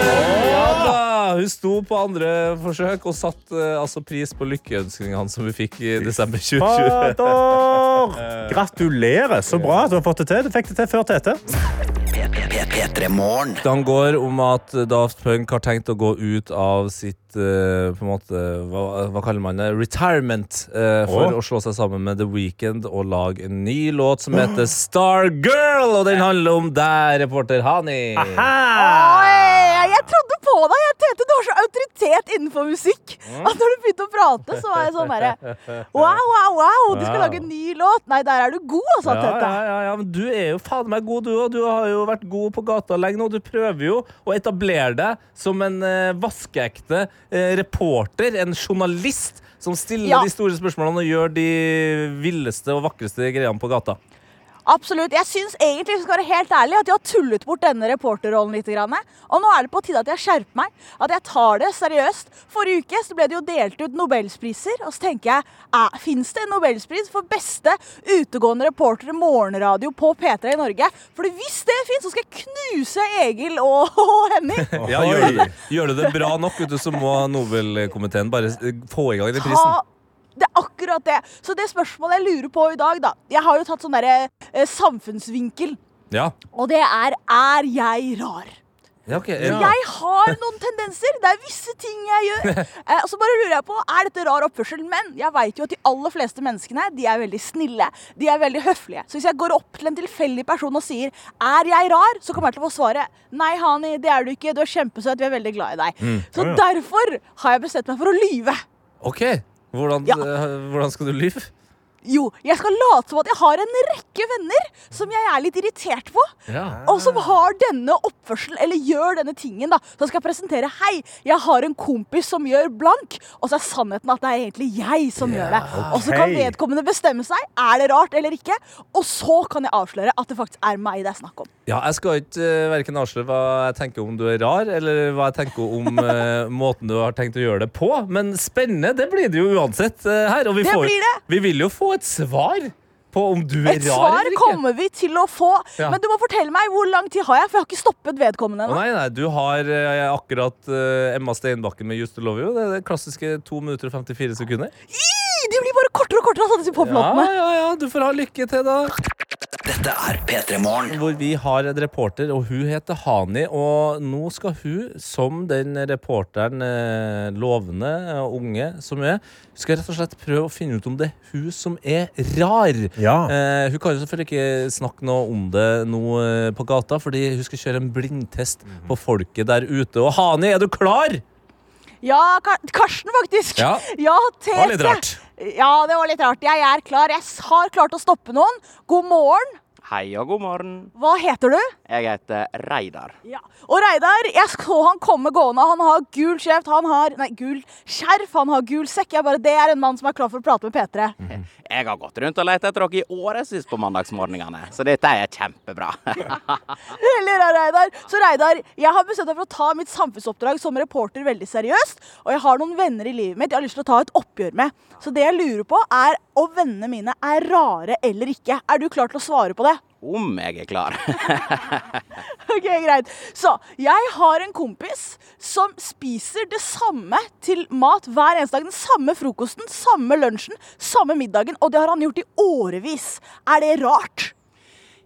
da, hun sto på andre forsøk og satt eh, altså pris på lykkeønskningen hans som vi fikk i desember 2020. fader! Gratulerer. Så bra at du har fått det til. Du fikk det til før Tete. P3 Morgen. Han går om at Daft Punk har tenkt å gå ut av sitt eh, på en måte, hva, hva kaller man det? Retirement. eh, for Åh. å slå seg sammen med The Weeknd og lage en ny låt som heter Stargirl. Og den handler om deg, reporter Hani. Ah! Oi, jeg trodde på deg. Jeg tenkte du har så autoritet innenfor musikk. Mm. At når du begynte å prate, så var jeg sånn bare Wow, wow, wow, du skal Wow. lage en ny låt. Nei, der er du god, altså, Ja, Tete. ja, ja, ja, men du er jo faen meg god, du òg. Du har jo vært god på gata lenge nå. Du prøver jo å etablere deg som en eh, vaskeekte eh, reporter, en journalist. Som stiller Ja. de store spørsmålene og gjør de villeste og vakreste greiene på gata. Absolutt. Jeg syns egentlig hvis jeg skal være helt ærlig, at jeg har tullet bort denne reporterrollen litt. Grann. Og nå er det på tide at jeg skjerper meg, at jeg tar det seriøst. Forrige uke så ble det jo delt ut nobelspriser, og så tenker jeg fins det en nobelspris for beste utegående reporter i morgenradio på P3 i Norge? For hvis det fins, så skal jeg knuse Egil og, og Henning. Ja, gjør, gjør du det bra nok, vet du, så må Nobelkomiteen bare eh, få i gang den prisen. Ta- Det er akkurat det. Så det spørsmålet jeg lurer på i dag, da Jeg har jo tatt sånn derre eh, samfunnsvinkel, Ja. og det er er jeg rar? Ja, ok. Er- Jeg har noen tendenser. Det er visse ting jeg gjør. Eh, og så bare lurer jeg på, Er dette rar oppførsel? Men jeg vet jo at de aller fleste menneskene de er veldig snille. De er veldig høflige. Så hvis jeg går opp til en tilfeldig person og sier 'Er jeg rar?', så kommer jeg til å få svaret 'Nei, Hani, det er du ikke. Du er kjempesøt. Vi er veldig glad i deg'. Så Mm. Ja, ja. derfor har jeg bestemt meg for å lyve. OK. Hvordan, Ja. eh, hvordan skal du lyve? Jo, jeg skal late som at jeg har en rekke venner som jeg er litt irritert på. Og som har denne oppførselen, eller gjør denne tingen, da. Så skal jeg presentere Hei, jeg har en kompis som gjør blank. Og så er sannheten at det er egentlig jeg som gjør det. Og så kan ok. vedkommende bestemme seg. Er det rart eller ikke? Og så kan jeg avsløre at det faktisk er meg det er snakk om. Ja, jeg skal ikke eh, hverken avsløre hva jeg tenker om du er rar, eller hva jeg tenker om eh, måten du har tenkt å gjøre det på, men spennende det blir det jo uansett eh, her. Og vi, Det får, blir det. vi vil jo få et svar på om du er Et rar svar eller ikke. kommer vi til å få. Ja. Men du må fortelle meg hvor lang tid har jeg, for jeg har ikke stoppet vedkommende Å ennå. nei, nei, du har eh, akkurat eh, Emma Steinbakken med Just to Love You. Det er det klassiske 2 minutter og 54 sekunder. Ih, De blir bare kortere og kortere av sånne Ja, poplåtene. ja, ja, du får ha lykke til, da. Dette er P3 Morgen. Hvor vi har en reporter, og hun heter Hani. Og nå skal hun, som den reporteren eh, lovende og unge som hun er, skal rett og slett prøve å finne ut om det er hun som er rar. Ja. Eh, hun kan jo selvfølgelig ikke snakke noe om det nå eh, på gata, fordi hun skal kjøre en blindtest på folket der ute. Og Hani, er du klar? Ja, Kar Karsten, faktisk. Ja. Tete. var litt rart. Ja, det var litt rart. Jeg er klar. Jeg s- har klart å stoppe noen. God morgen. Hei og god morgen. Hva heter du? Jeg heter Reidar. Ja. Og Reidar, jeg så han komme gående. Han har gul skjeft, han har Nei, gul skjerf, han har gul sekk. Jeg bare, Det er en mann som er klar for å prate med P3. Jeg har gått rundt og lett etter dere i årevis på mandagsmorgenene, så dette er kjempebra. Heller er Reidar. Så Reidar, jeg har bestemt meg for å ta mitt samfunnsoppdrag som reporter veldig seriøst. Og jeg har noen venner i livet mitt jeg har lyst til å ta et oppgjør med. Så det jeg lurer på, er om vennene mine er rare eller ikke. Er du klar til å svare på det? Om jeg er klar. Ok, greit. Så jeg har en kompis som spiser det samme til mat hver eneste dag. Den samme frokosten, samme lunsjen, samme middagen. Og det har han gjort i årevis. Er det rart?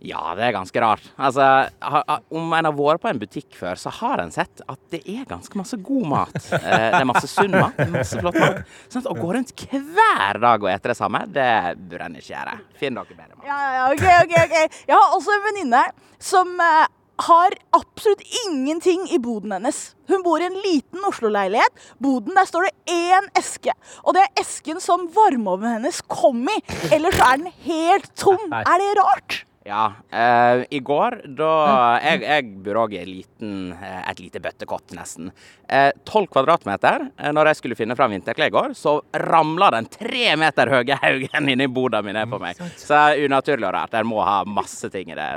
Ja, det er ganske rart. Altså, ha, ha, om en har vært på en butikk før, så har en sett at det er ganske masse god mat. Eh, det er masse sunn mat, det er masse flott mat. Sånn at å gå rundt hver dag og ete det samme, det burde en ikke gjøre. Finn dere bedre mat. Ja, ja, ja, ok, ok, ok. Jeg har også en venninne som eh, har absolutt ingenting i boden hennes. Hun bor i en liten Oslo-leilighet. Boden, der står det én eske. Og det er esken som varmeovnen hennes kom i. Ellers så er den helt tom. Er det rart? Ja. eh, I går, da Jeg, jeg bor òg i en liten, eh, et lite bøttekott, nesten. Eh, Tolv kvadratmeter. Eh, når jeg skulle finne fram vinterklær i går, så ramla den tre meter høye haugen inni boda mi ned på meg. Så unaturlig og rart. En må ha masse ting i det,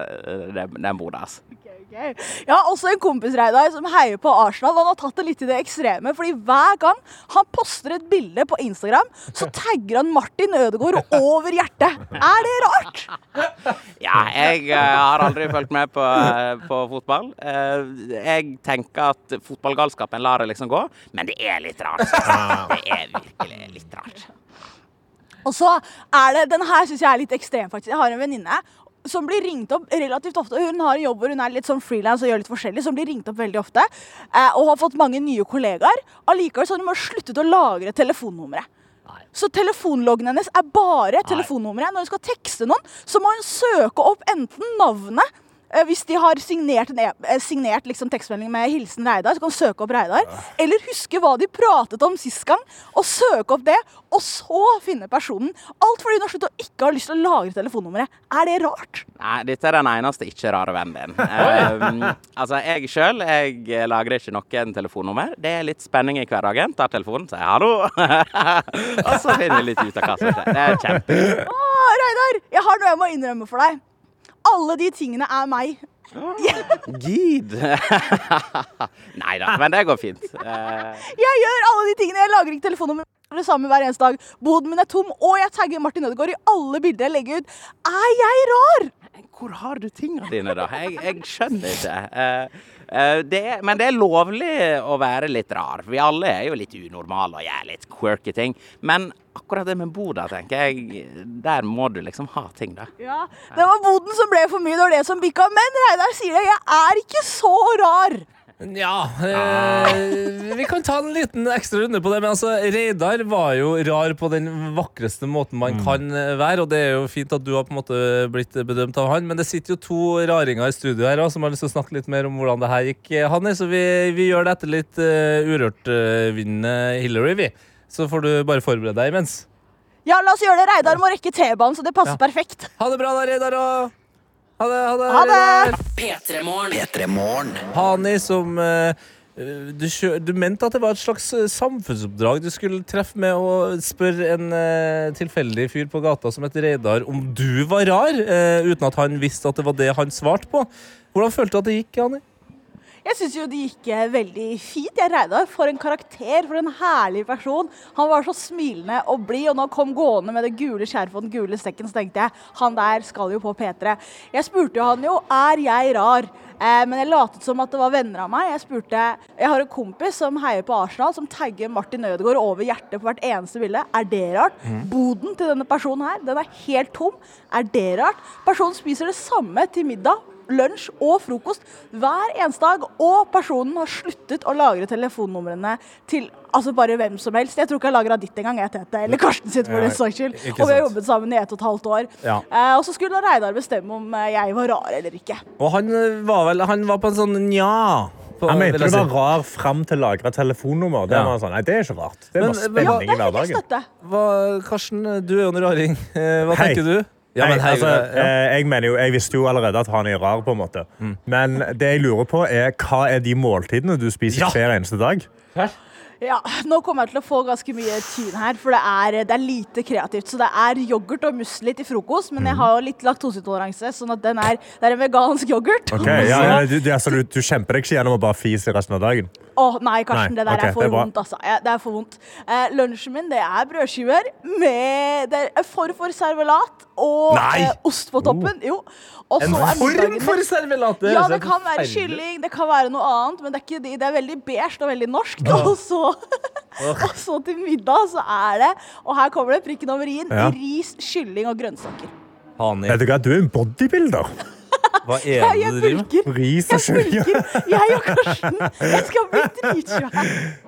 det, den boda. Altså. Ok. Jeg har også en kompis Reidar, som heier på Arsenal. Han har tatt det litt i det ekstreme. fordi Hver gang han poster et bilde på Instagram, så tagger han Martin Ødegaard over hjertet. Er det rart? Ja, jeg eh, har aldri fulgt med på, eh, på fotball. Eh, jeg tenker at fotballgalskapen lar det liksom gå, men det er litt rart. synes jeg. Det er virkelig litt rart. Og så er det, Den her syns jeg er litt ekstrem, faktisk. Jeg har en venninne som blir ringt opp relativt ofte. Hun har en jobb hvor hun er litt sånn frilans og gjør litt forskjellig, som blir ringt opp veldig ofte. eh, Og har fått mange nye kollegaer. Allikevel så har hun bare sluttet å lagre telefonnummeret. Så telefonloggen hennes er bare telefonnummeret. Når hun skal tekste noen, så må hun søke opp enten navnet eh, hvis de har signert, en e eh, signert liksom tekstmelding med 'Hilsen Reidar', så kan du søke opp Reidar. Eller huske hva de pratet om sist gang, og søke opp det. Og så finne personen. Alt fordi hun har sluttet å ikke ha lyst til å lagre telefonnummeret. Er det rart? Nei, dette er den eneste ikke rare vennen din. Um, altså, jeg sjøl jeg lagrer ikke noen telefonnummer. Det er litt spenning i hverdagen. Tar telefonen, sier hallo, og så finner vi litt ut av hva som skjer. Det er kjempe... Å, Reidar, jeg har noe jeg må innrømme for deg. Alle de tingene er meg. Gid! Nei da, men det går fint. Eh, Jeg gjør alle de tingene. Jeg lager ikke telefonen det samme hver eneste dag. Boden min er tom, og jeg tagger Martin Ødegaard i alle bilder jeg legger ut. Er jeg rar? hvor har du tingene dine, da? Jeg, jeg skjønner ikke. Eh, eh, det er, men det er lovlig å være litt rar. Vi alle er jo litt unormale og gjør litt quirky ting. Men akkurat det med boda, tenker jeg, der må du liksom ha ting, da. Ja, Det var boden som ble for mye, det var det som bikka. Men Reidar sier det, jeg er ikke så rar. Ja, eh, vi kan ta en liten ekstra runde på det. Men altså, Reidar var jo rar på den vakreste måten man kan eh, være. Og det er jo fint at du har på en måte blitt bedømt av han. Men det sitter jo to raringer i studio her også, som har lyst til å snakke litt mer om hvordan det her gikk. eh, Hanni, så vi, vi gjør det etter litt uh, Urørt-vinnende eh, Hillary, vi. Så får du bare forberede deg imens. Ja, la oss gjøre det. Reidar må rekke T-banen, så det passer Ja. perfekt. Ha det bra da, Reidar. og Ha det, ha det, Ha det! Reidar. P3 Morgen. P3 Morgen. Hani som eh, du, kjø du mente at det var et slags eh, samfunnsoppdrag du skulle treffe med å spørre en eh, tilfeldig fyr på gata som het Reidar om du var rar, eh, uten at han visste at det var det han svarte på. Hvordan følte du at det gikk, Hani? Jeg syns jo det gikk eh, veldig fint. Jeg Reidar, for en karakter, for en herlig person. Han var så smilende og blid, og når han kom gående med det gule skjerfet og den gule sekken, så tenkte jeg han der skal jo på P3. Jeg spurte jo han jo er jeg rar, eh, men jeg latet som at det var venner av meg. Jeg spurte Jeg har en kompis som heier på Arsenal, som tagger Martin Ødegaard over hjertet på hvert eneste bilde. Er det rart? Boden til denne personen her, den er helt tom. Er det rart? Personen spiser det samme til middag lunsj og frokost hver eneste dag, og personen har sluttet å lagre telefonnumrene til altså bare hvem som helst. Jeg tror ikke jeg lagra ditt engang, jeg, Tete, eller Karsten sitt, for Ja, den saks skyld. ikke Og vi har sant. jobbet sammen i ett og et halvt år. Ja. Eh, og så skulle da Reidar bestemme om eh, jeg var rar eller ikke. Og han eh, var vel Han var på en sånn nja. På, Han mente vil jeg du si. var rar fram til lagra telefonnummer. Det, Ja. var han sånn, nei, det er ikke rart. Det er Men- men- Ja, bare spenning Der i fikk jeg hverdagen. støtte. Hva, Karsten, du er jo en raring. Eh, Hva Hei. tenker du? Ja, men Nei, hei, altså, ja. Mm. eh, jeg, mener jo, jeg visste jo allerede at han er rar, på en måte. Men det jeg lurer på, er hva er de måltidene du spiser Ja. hver eneste dag? Ja, nå kommer jeg til å få ganske mye tyn her, for det er, det er lite kreativt. Så det er yoghurt og musli til frokost, Mm. men jeg har jo litt laktoseintoleranse, sånn at den er, det er en vegansk yoghurt. Ok, ja, ja, du, du, altså, du, du kjemper deg ikke gjennom å bare fise resten av dagen. Å nei, Karsten, Nei, det der ok, er for det er bra. vondt, altså. Ja, det er for vondt. Eh, lunsjen min, det er brødskiver med det er for for servelat og Nei! eh, ost på toppen. Jo. Og så er middagen Form min- for servelat! Ja, høres det helt kan være forferdelig ut. kylling, det kan være noe annet, men det er, ikke de, det er veldig beige og veldig norsk. Og, så, og så til middag så er det, og her kommer det prikken over i-en, Ja. ris, kylling og grønnsaker. Hani, Vet du hva, du er en bodybuilder. hva er Jeg, det jeg du driver med? bulker. Ris og Jeg kylling. bulker. Jeg og Karsten. Jeg skal bli dritsvær.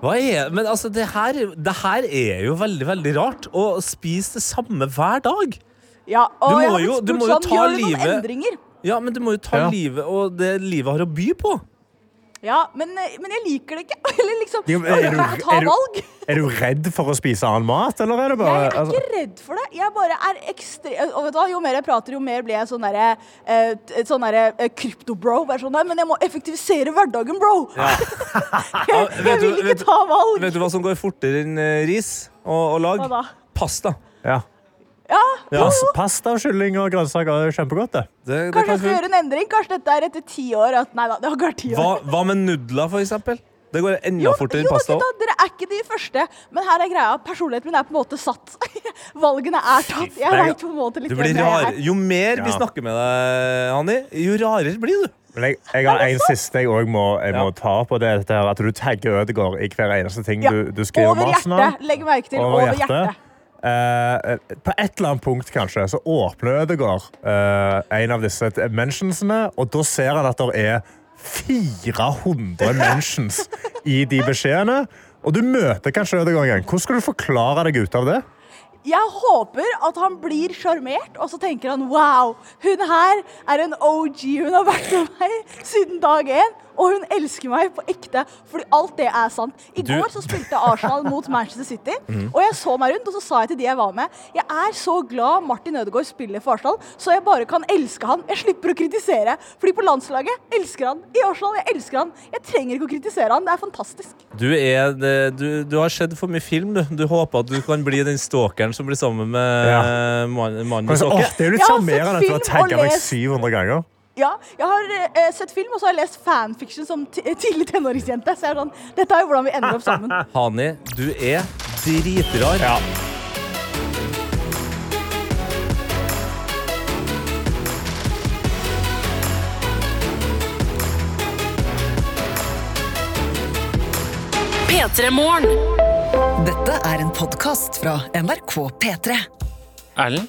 Hva er, men altså, det her, det her er jo veldig, veldig rart. Å spise det samme hver dag. Ja, og Du må jeg har blitt jo- du spurt må jo sånn, ta gjør du noen livet- endringer? Ja, men du må jo ta Ja. livet og det livet har å by på. Ja, men, eh, men jeg liker det ikke. Eller liksom, Jo, jeg men er kan du- ta er du- valg. Er du redd for å spise annen mat, eller er det bare Jeg er altså- ikke redd for det. Jeg bare er ekstre... eh, Og vet du hva, jo mer jeg prater, jo mer blir jeg sånn derre eh, t- sånn derre eh, krypto-bro. Bare sånn der, men jeg må effektivisere hverdagen, bro. Ja, Jeg, jeg vil ikke ta valg. Vet du hva som går fortere enn eh, ris og, og lag? Hva da? Pasta. Ja. Ja, Pas, pasta og kylling og grønnsaker er jo kjempegodt, det. Det, det kan kanskje jeg skal funke. gjøre en endring. Kanskje dette er etter ti år at Nei da, det har ikke vært ti år. Hva, hva med nudler, for eksempel? Det går enda Jo, fortere jo enn pasta. da, gutta, dere er ikke de første, men her er greia. Personligheten min er på en måte satt. Valgene er tatt. Jeg faen. veit på en måte litt Du blir hvem jeg er. rar. Jo mer vi Ja. snakker med deg, Hanni, jo rarere blir du. Men jeg, jeg har en siste jeg òg må, jeg må Ja. ta på. Det, er dette her, at du tagger Ødegaard i hver eneste ting Ja, du, du skriver over masen hjertet. Legg merke til, over hjertet. Eh, på et eller annet punkt kanskje, så åpner Ødegaard eh, en av disse t- mentionsene, og da ser han at det er 400 mentions i de beskjedene. Og du møter kanskje Ødegaard en gang. Hvordan skal du forklare deg ut av det? Jeg håper at han blir sjarmert, og så tenker han wow, hun her er en OG. Hun har vært med meg siden dag én. Og hun elsker meg på ekte, fordi alt det er sant. I Du- går så spilte Arsenal mot Manchester City, og jeg så meg rundt, og så sa jeg til de jeg var med, jeg er så glad Martin Ødegaard spiller for Arsenal, så jeg bare kan elske han. Jeg slipper å kritisere, fordi på landslaget elsker han. I Arsenal, jeg elsker han. Jeg trenger ikke å kritisere han. Det er fantastisk. Du, er, det- du, du har sett for mye film, du. Du håper at du kan bli den stalkeren som blir sammen med Ja. eh, mann- mannen i Men så, åh, sokken. det er jo litt Jeg har sjarmerende at sett du har altså, film og tagga meg lest. 700 ganger. Ja, jeg har eh, sett film, og så har jeg lest fanfiction som ti- tidlig tenåringsjente, så jeg er sånn, dette er jo hvordan vi ender opp sammen. Hani, du er dritrar. Ja. P3 Morgen. Dette er en podkast fra NRK P3. Erlend,